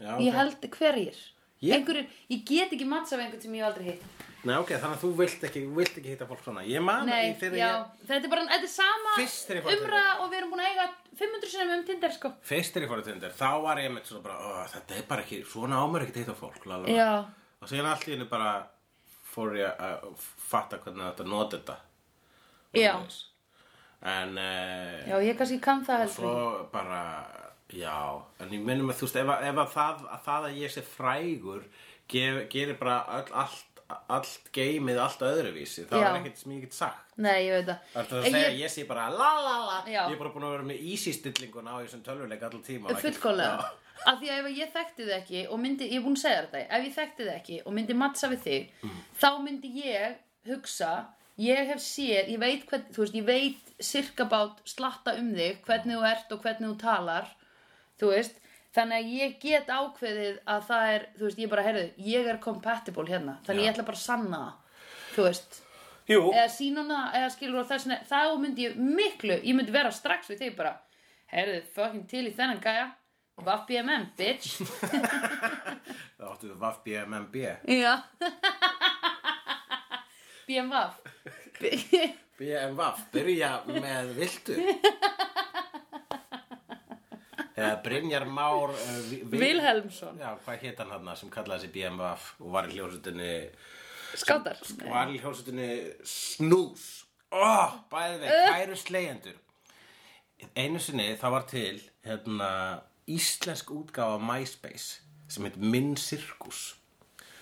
Já, ok
Ég held hverjir
Ég-
Einhverjir, ég get ekki matts af einhvern sem ég hef aldrei hitt
Nei, ok, þannig að þú vilt ekki, vilt ekki hitta fólk svona Ég man
Nei,
í þegar
já,
ég
þetta er bara, þetta er sama
Fyrst þegar ég fór til
umræða og við erum búin að eiga 500 sinni um Tinder, sko
Fyrst er ég fór að Tinder, þá var ég með svona bara "Ó, Þetta er bara ekki, svona ámur ekki hitta fólk lala.
Já,
og síðan allt í henni bara fór ég að fatta hvernig þetta nota þetta
já,
en uh,
já, ég kannski kann það heldur
svo bara já, en ég minnum að þú veist ef, að- ef að, það, að það að ég sé frægur gef, gerir bara all, allt allt geimið allt öðruvísi það
Já.
er ekkert sem ég get sagt
Nei, ég veit það
Það er að
En
segja
ég-
að ég sé bara la la la
Já.
Ég er bara búin að vera með easy-stillinguna á þessum tölvuleik allan tíma
fullkomlega af því að ef ég þekkti þið ekki og myndi, ég er búin að segja þér þetta ef ég þekkti þið ekki og myndi mattsa við þig
Mm.
þá myndi ég hugsa ég hef séð, ég veit hvern, þú veist, ég veit sirkabát slatta um þig hvernig þú ert og hvernig þú talar þú veist, þannig að ég get ákveðið að það er, þú veist, ég bara heyrðu, ég er compatible hérna, þannig
Já.
ég ætla bara að sanna það, þú veist
Jú,
eða sínuna, eða skilur og þess vegna- þá myndi ég miklu, ég myndi vera strax við þig bara, heyrðu, fucking til í þennan gæja, vaff BMM, bitch
það áttu við Vaff BMMB
já BMV
BMWaf, byrja með viltu Eða Brynjar Már uh, Vi- Vi-
Vilhelmsson,
Já, hvað hétt hann hann sem kallaði sig BMWaf og var í hljósutinni
skátar
var Sko, í hljósutinni Snús oh, Bæði veg, kæru slegjendur Einu sinni það var til hérna, íslensk útgáfa MySpace sem heit Minn Sirkus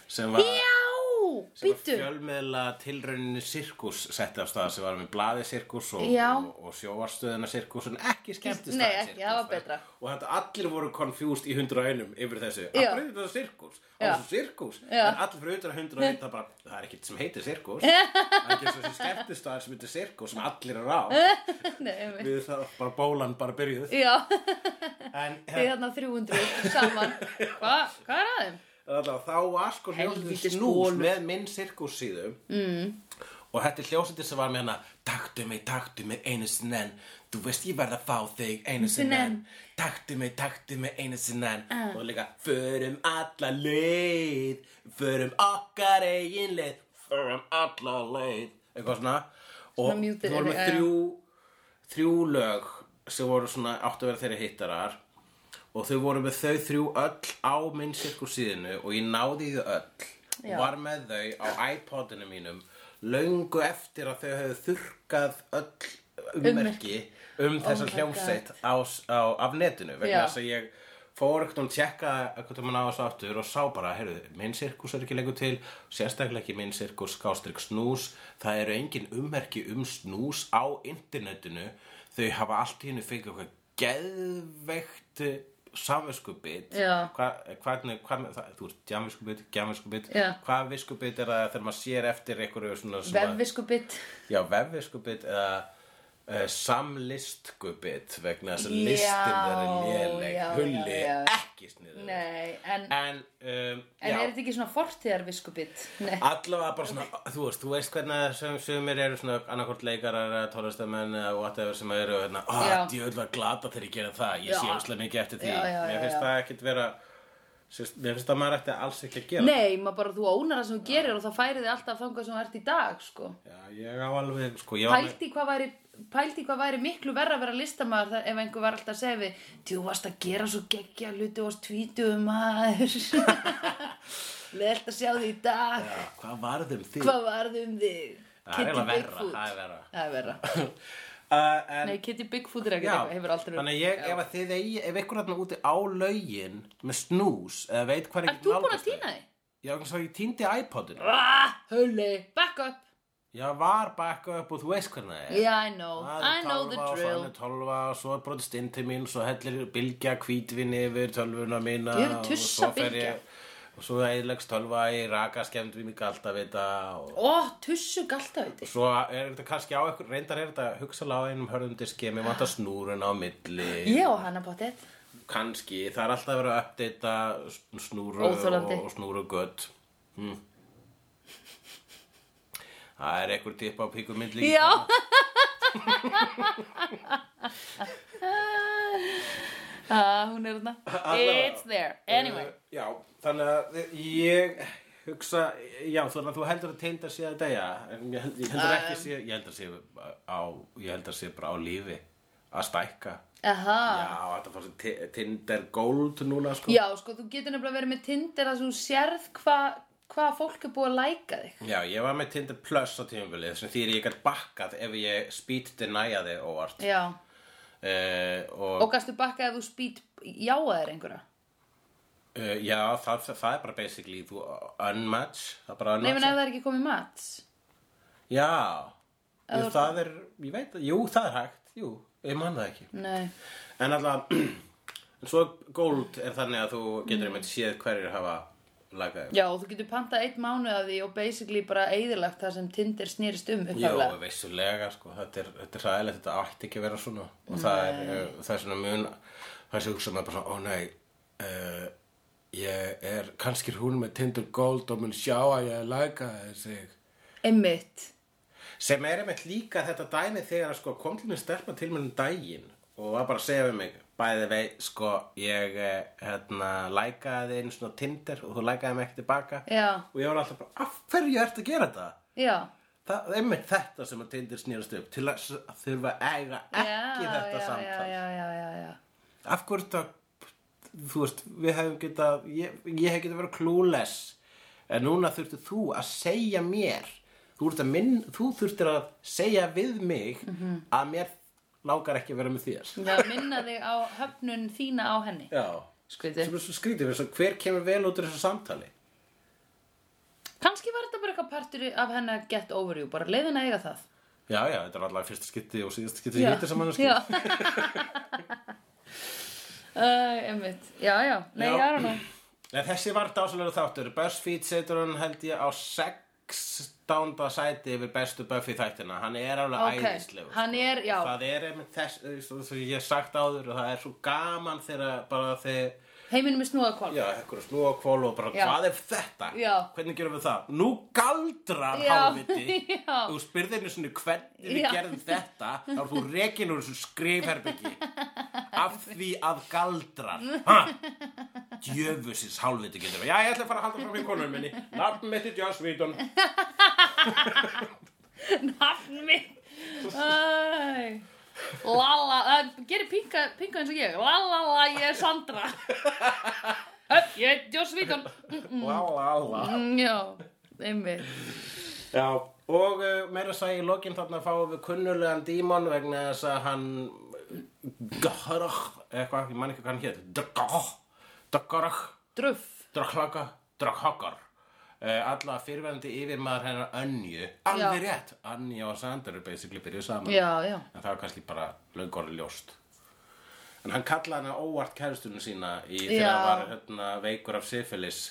sem var
já,
sem var
býtu
fjölmiðla tilrauninu Sirkus setti af stað sem var með blaði Sirkus og,
Já.
og, og sjóvarstöðina Sirkus en ekki skemmtist
Nei, ekki, það var betra.
og þetta allir voru confused í hundra einum yfir þessu,
Já.
að breyta þetta Sirkus
Já.
og Sirkus,
Já.
en allir fyrir utan hundra einum það bara, það er ekkert sem heitir Sirkus það er ekki þessi skemmtist að sem heitir Sirkus sem allir er á
Nei, einmitt.
við það bara bólan bara byrjuð
já, hérna
en,
þið þarna 300 saman Hva- hvað er aðeim?
allavega, þá var sko hljómsveitin
Helvítis
snús
bolur.
með minn sirkussíðu mm. og þetta er hljómsveitin sem var með hana taktu mig, taktu mig einu sinni enn þú veist ég verð að fá þig einu
Sinni
sinni enn
enn.
taktu mig, taktu mig einu sinni enn
Ah.
og líka förum alla leið förum okkar eigin leið förum alla leið eitthvað svona og
Svona muted,
þú voru með
já, já.
þrjú þrjú lög sem voru svona áttu að vera þeirri hittarar og þau voru með þau þrjú öll á minn sirkur síðinu og ég náði í þau öll
Já.
og var með þau á iPodinu mínum löngu eftir að þau hefðu þurkað öll ummerki um þessar
Oh my
hljómsveit á, á, af netinu vegna
Já.
þess að ég fór ekkert um að tjekka hvort að mann á þessu aftur og sá bara, heyrðu, minn sirkus er ekki lengur til sérstaklega ekki minn sirkus skástrík snús, það eru engin ummerki um snús á internetinu þau hafa allt í hennu fengið eitthvað geðveikt eh, samviskubit
Já.
Hva, eh, hvernig, hvernig, það, þú veist, jamviskubit, gjamviskubit
Já.
hvað viskubit er það þegar maður sér eftir einhverju svona sem að-
Vefviskubitt
Já, vefviskubit eða uh, samlistgubit vegna þess að
Já,
listin þeirra er léleg,
já,
hulli,
já, já.
ekki sniður.
Nei, en,
En, um,
en
já,
er þetta ekki svona fortíðarviskubitt? Nei,
allavega bara svona, þú veist, þú veist hvernig sem, sumir eru svona annarkort leikarar eða tólestamenn eða whatever sem eru hérna, ó,
Já.
djöðl var glata þegar ég gera það, ég
Já.
sé óslega mikið eftir því.
Já, já, já,
mér finnst
já.
það ekkit vera, sérst, mér finnst það maður ætti alls ekki að gera.
Nei maður bara þú ónar það sem þú gerir og það færi þig alltaf að fanga sem þú ert í dag, sko
Já, ég á alveg, sko, ég á alveg,
Pældi hvað væri Pældi hvað væri miklu verra að vera listamaður þar- ef einhver var alltaf að segja við Þú varst að gera svo geggja hluti og varst tvítuðum maður Lelt að sjá því í dag
já, hvað varðum þig?
Hvað varð um þig?
Það er
Kitty
eiginlega verra,
Bigfoot.
það er verra.
Það er verra
Uh, en,
Nei, Kitty Bigfoot er ekkert
Já,
eitthvað, hefur aldrei
þannig að ég, ef að þið eigi, ef ykkur hérna úti á laugin með snús eða veit hvað er
Er þú búin að týna þig?
Já, kannski að ég týndi iPodinu.
Ah, Hulli, back up
Ég var bara upp og þú veist hvernig það er.
Yeah, I know, I know the
Svo hann
drill
er 12 og svo er brotist inn til mín, svo hellir bylgja hvítvinni yfir tölvuna mína.
Ég er
og
tussa
svo fer
bylgja.
ég- Og svo eðilegst tölva í rakaskemd við mig alltaf við þetta og...
Ó, tussu galta veit
Svo er þetta kannski á eitthvað, reyndar er þetta hugsalega á einum hörðum diski, mér vantar snúrun á milli.
Ég og hana bóttið
kannski, það er alltaf verið að uppdata snúru
Óþolandi.
og, og snúru gött mm. það er einhver tipp á píkum mynd líka
Já Ah, hún er þarna
Allavega.
It's there, anyway
Eh, já, þannig að ég hugsa, já, þannig að þú heldur að teynda sé að deyja, en ég, held- ég
Um.
heldur ekki sé, ég heldur að sé á, ég heldur að sé bara á lífi að stækka
Aha
já, þetta fór sem Tinder Gold núna, sko
Ah. Já, sko, þú getur nefnilega verið með Tinder að þú sérð hvað hva fólk er búið að læka þig
Já, ég var með Tinder Plus á tímabilið sem þýðir ég gætt bakkað ef ég speed denyaði óvart
Já
uh, og,
Og gastu bakka ef þú spýt jáaðir einhverja
uh, já, það, það, það er bara basically þú unmatch, það er bara
Nei, menn
unmatch
ef það er ekki komið mat
Já, jú, það er, ég veit, það- jú, það er hægt, jú, ég man það ekki
Nei
En allavega, en svo gold er þannig að þú getur einmitt séð hverjir hafa lagað
Já, og þú getur pantað eitt mánuð af því og basically bara eðilagt það sem Tinder snýrist um
Jó,
upphaflega
vissulega, sko, þetta er, þetta er ræðilegt, þetta ætti ekki að vera svona og það er, eh, það er svona mun, það er svo hugsa maður bara svona, ó nei, uh, ég er, kannski er hún með Tinder Gold og mun sjá að ég læka þessi.
Einmitt
Sem er einmitt líka þetta dæmi þegar að sko kom til mér stelpa til mér um daginn og var bara að segja við mig, bæði vei, sko, ég, eh, hérna, lækaði einu svona Tinder og þú lækaði mig ekki tilbaka
Já,
og ég var alltaf bara, af hverju ertu að gera þetta?
já
Það er einmitt þetta sem að Tinder snýrast upp til að s- þurfa að eiga ekki
já,
þetta
já, Já,
samtal.
já, já, já, já.
Af hverju þetta, þú veist, við hefum getað, ég, ég hef getað verið klúles en núna þurftu þú að segja mér, þú, ert að minn, þú þurftir að segja við mig að mér langar ekki að vera með þér.
Það minna þig á höfnun þína á henni.
Já,
Skriði.
sem er svo skrítið, svo hver kemur vel út úr þessu samtali?
Kanski var þetta bara eitthvað partur af henni að get over you, bara leiðin að eiga það.
Já, já, þetta er allavega fyrsta skipti og síðasta skipti sem ég hittir saman að skipti.
Já. uh, einmitt. Já, já. Nei,
Já.
já, já, nú.
En þessi var dásalöru þáttur. BuzzFeed setur hann held ég á 16. sæti yfir bestu Buffy þættina. Hann er alveg
Ok.
okay. æðislegur. sko.
Hann er, já.
Það er einmitt þess, eins og- eins og ég hef sagt áður og það er svo gaman þegar bara þegar
heiminum er snúða kvolf
Já, ekkur að snúa á kvól og bara,
Já.
hvað er þetta?
Já.
Hvernig gerum við það? Nú galdrar
Já.
hálfviti.
Já.
Þú spyrði einu svona hvernig við
Já.
gerðum þetta, þá er þú rekin úr þessu skrifherbyggi. Af því að galdrar. Ha? Djöfusins hálfviti getur við. Já, ég ætla að fara að halda fram í konunum minni. Nafn mitt er Joss Whedon.
Nafn mitt Æ. Lala uh, Gerir pinka, pinka eins og ég Lalala, ég er Sandra Öpp, Ég er Joss Vítón
La, la, la.
mm, Já, einmitt
Já, og uh, meira að segja í lokin þarna fáum við kunnulegan dímon vegna þess að hann Gahrach, eitthvað, ég man ekki hvað hann hétt Dragarach, Dragarach,
Druff
Draglaka, Draghagar uh, Alla fyrirverandi yfirmaður hennar Önju Alveg rétt, Anja og Sander er basically byrjuð saman
Já, já
En það var kannski bara löngorri ljóst En hann kallaði hana óvart kærustunum sína í þegar
Já.
hann var hérna, veikur af syfilis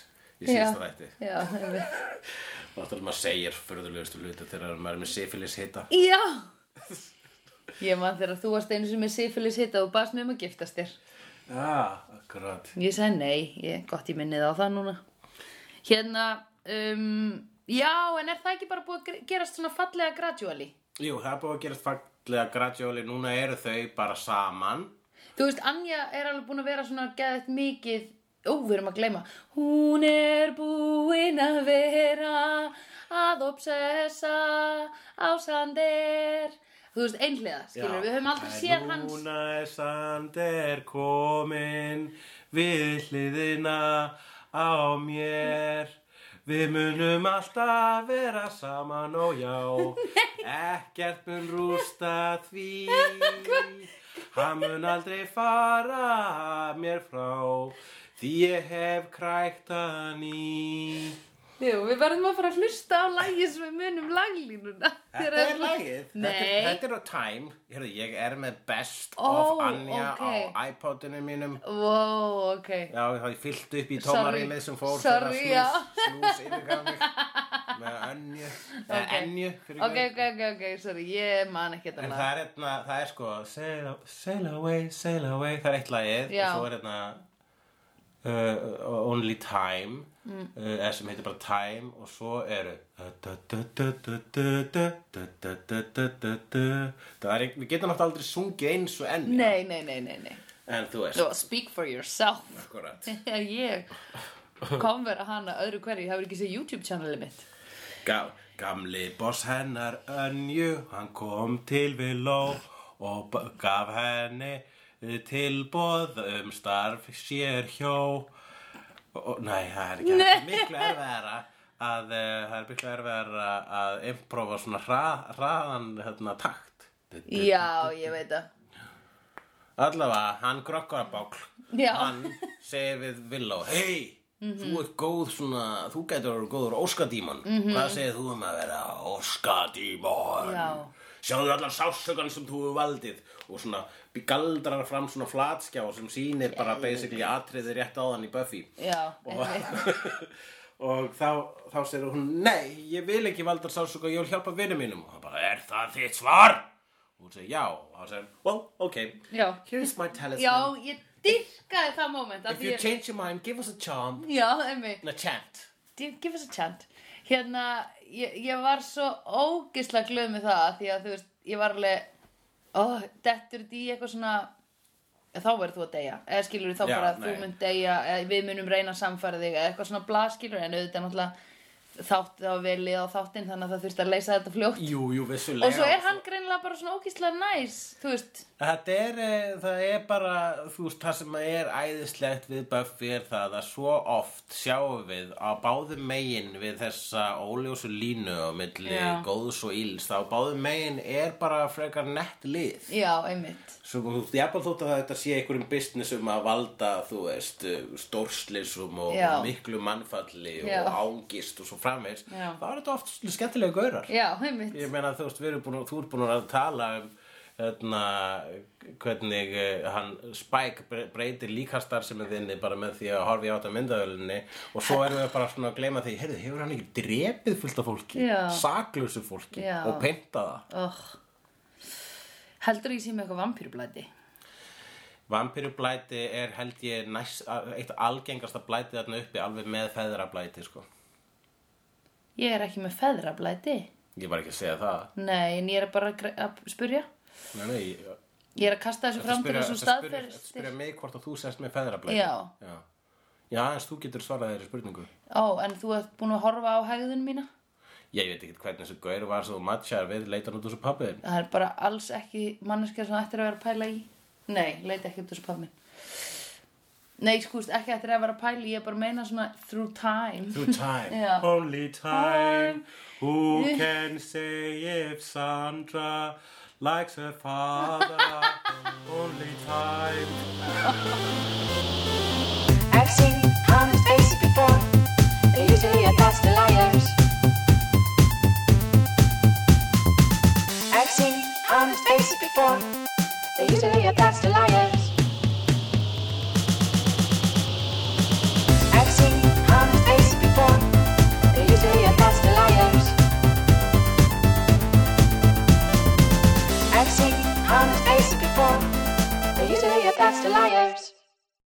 í síðasta þætti
Já, já, einmitt
Náttúrulega maður segir furðulegustu hluti þegar maður er með syfilis hita.
Já Ég man þegar þú varst einu sem er sífilis hitta og baðst mig um að giftast þér
Já, akkurat.
Ég sagði nei, ég gott ég minnið á það núna. Hérna, um, já, en er það ekki bara búið að gre- gerast svona fallega gradually?
Jú, það er búið að gerast fallega gradjóli. Núna eru þau bara saman.
Þú veist, Anja er alveg búin að vera svona geðið mikið, ó, við erum að gleyma. Hún er búin að vera að obsessa á Sander. Þú veist, einhlega, skilur, við höfum aldrei séð hans.
Núna er Sander komin við hliðina á mér. Við munum alltaf vera saman og já, ekkert mun rústa því. Hann mun aldrei fara mér frá, því ég hef krækt hann í.
Jú, við verðum að fara að hlusta á lagið sem við munum laglínuna.
Þetta er lagið.
Nei.
Þetta, er- þetta er á Time. Hérðu, ég er með Best
Ó,
of Anja
ókei.
á iPodinu mínum.
Wow, ok.
Já, ég hafði fyllt upp í
Sorry.
tómarýmið sem fór
Sorry, já.
þegar snús, snús yfirgaf mig með önju, eða
Ókei.
enju fyrir
Ok,
guð.
ok, ok, ok, sorry, ég man ekki þetta
En
lag.
það er, eitna, það er sko sail, a- sail away, sail away Það er eitt lagið
Já.
og svo er eitna, uh, Only Time mm. uh, eða sem heitir bara Time og svo eru Það er, við getum náttúrulega aldrei sungið eins og enn
Nei, nei, nei, nei, nei.
En þú veist
Svo, speak for yourself.
Akkurat.
ég kom vera hana öðru hverju, ég hefur ekki séð YouTube-channelið mitt.
Ga Gamli boss hennar önju, hann kom til við ló og b- gaf henni tilboð um starf sér hjó. Og, nei, það er ekki það er miklu erfiðara að eh, það er miklu erfiðara að improva svona hra, hraðan hérna, takt.
Já, ég veit það.
Allavega, hann grokkar að bákl.
Já.
Hann segir við Villó, hei, þú ert góð svona, þú getur að vera góður óskadímon.
Mhm.
Hvað segir þú um að vera óskadímon?
Já.
Sjáðu allar sásökan sem þú hefur valdið og svona galdrar fram svona flatskjá sem sýnir bara basically atriði rétt áðan í Buffy.
Já, einmitt.
Og, og þá, þá segir hún, nei, ég vil ekki valda sásöka, ég vil hjálpa vinnum mínum. Og hann bara, er það þitt svar? Og hún segir, já. Og hann segir, well, okay.
Já.
Here's my talisman.
Já, ég dyrkaði það moment. af
If
því
you
ég-
change your mind, give us a charm
Já, einmitt.
and a chant.
Dude, give us a chant hérna, ég, ég var svo ógislega glöð með það því að þú veist, ég var alveg ó, dettur þetta í eitthvað svona "Eh, þá verður þú að deyja eða skilur þá
Já,
bara
nei.
þú mun deyja eða við munum reyna að sannfæra þig eða eitthvað svona blaskilur en auðvitað náttúrulega þátt þá velið á þáttinn þannig að það þurfti að leysa þetta fljótt
Jú, jú, vissulega.
og svo er hann greinilega bara svona ógislega næs þú veist,
Þetta er, eh, það er bara, þú veist, það sem er æðislegt við Buffy er það að svo oft sjáum við á báðum megin við þessa óljósu línu á milli
Já.
góðs og íls, þá á báðum megin er bara frekar nett lið.
já, einmitt
Svo, þú veist, jafnvel þótt að þetta sé einhverjum business um að valda, þú veist, stórslisum og
Já.
miklu mannfalli
Já.
og ángist og svo framvegs,
Já.
þá er þetta oft skemmtilega gaurar.
já, einmitt,
Ég meina, þú veist, við erum búin, að- þú ert búin að tala um hérna, hvernig eh, hann Spike bre- breytir líkastar sem er þinni bara með því að horfa í átt að myndaðölinni og svo erum við bara svona að gleyma því, heyrðu, hefur hann ekki drepið fullt af fólki,
Já.
saklausu fólki
Já.
og peinta það?
oh. heldur ég sé með eitthvað vampýrblæti
Vampirublæti er held ég næst, eitt algengasta blæti þarna uppi alveg með feðrablæti sko.
Ég er ekki með feðrablæti.
Ég var ekki að segja það.
Nei, en ég er bara að gre- að spurja.
Nei, nei, ég-
Ég er að kasta þessu
Þetta
fram til
spyrja-
þessu
þetta spyrja- þetta
staðferðstir.
spyrja mig hvort að þú sérst með feðrablæti.
Já.
Já, Já en þú getur svarað þeirri spurningu.
Ó, en þú ert búin að horfa á hægðun mína?
Ég veit ekki hvernig þessu gaur var svo matchar við leitan út úr þessu pappiðin.
Það er bara alls ekki manneskja sem ættir að vera að pæla í. Nei, leita ekki upp þessu pabbi minn. Nei, skúst, ekki ættir að vera að pæla í, ég er bara að meina svona through time.
Through time,
Já.
only time, who can say if Sandra likes her father, only time.
I've seen honest faces before. They're usually a pass to liars. I've seen honest faces before. They're usually a pass to liars. I've seen honest faces before. They're usually a pass to liars. I've seen honest faces before. They're usually a pass to liars.